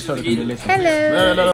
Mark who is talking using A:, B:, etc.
A: sort of in the lesson.
B: Hello.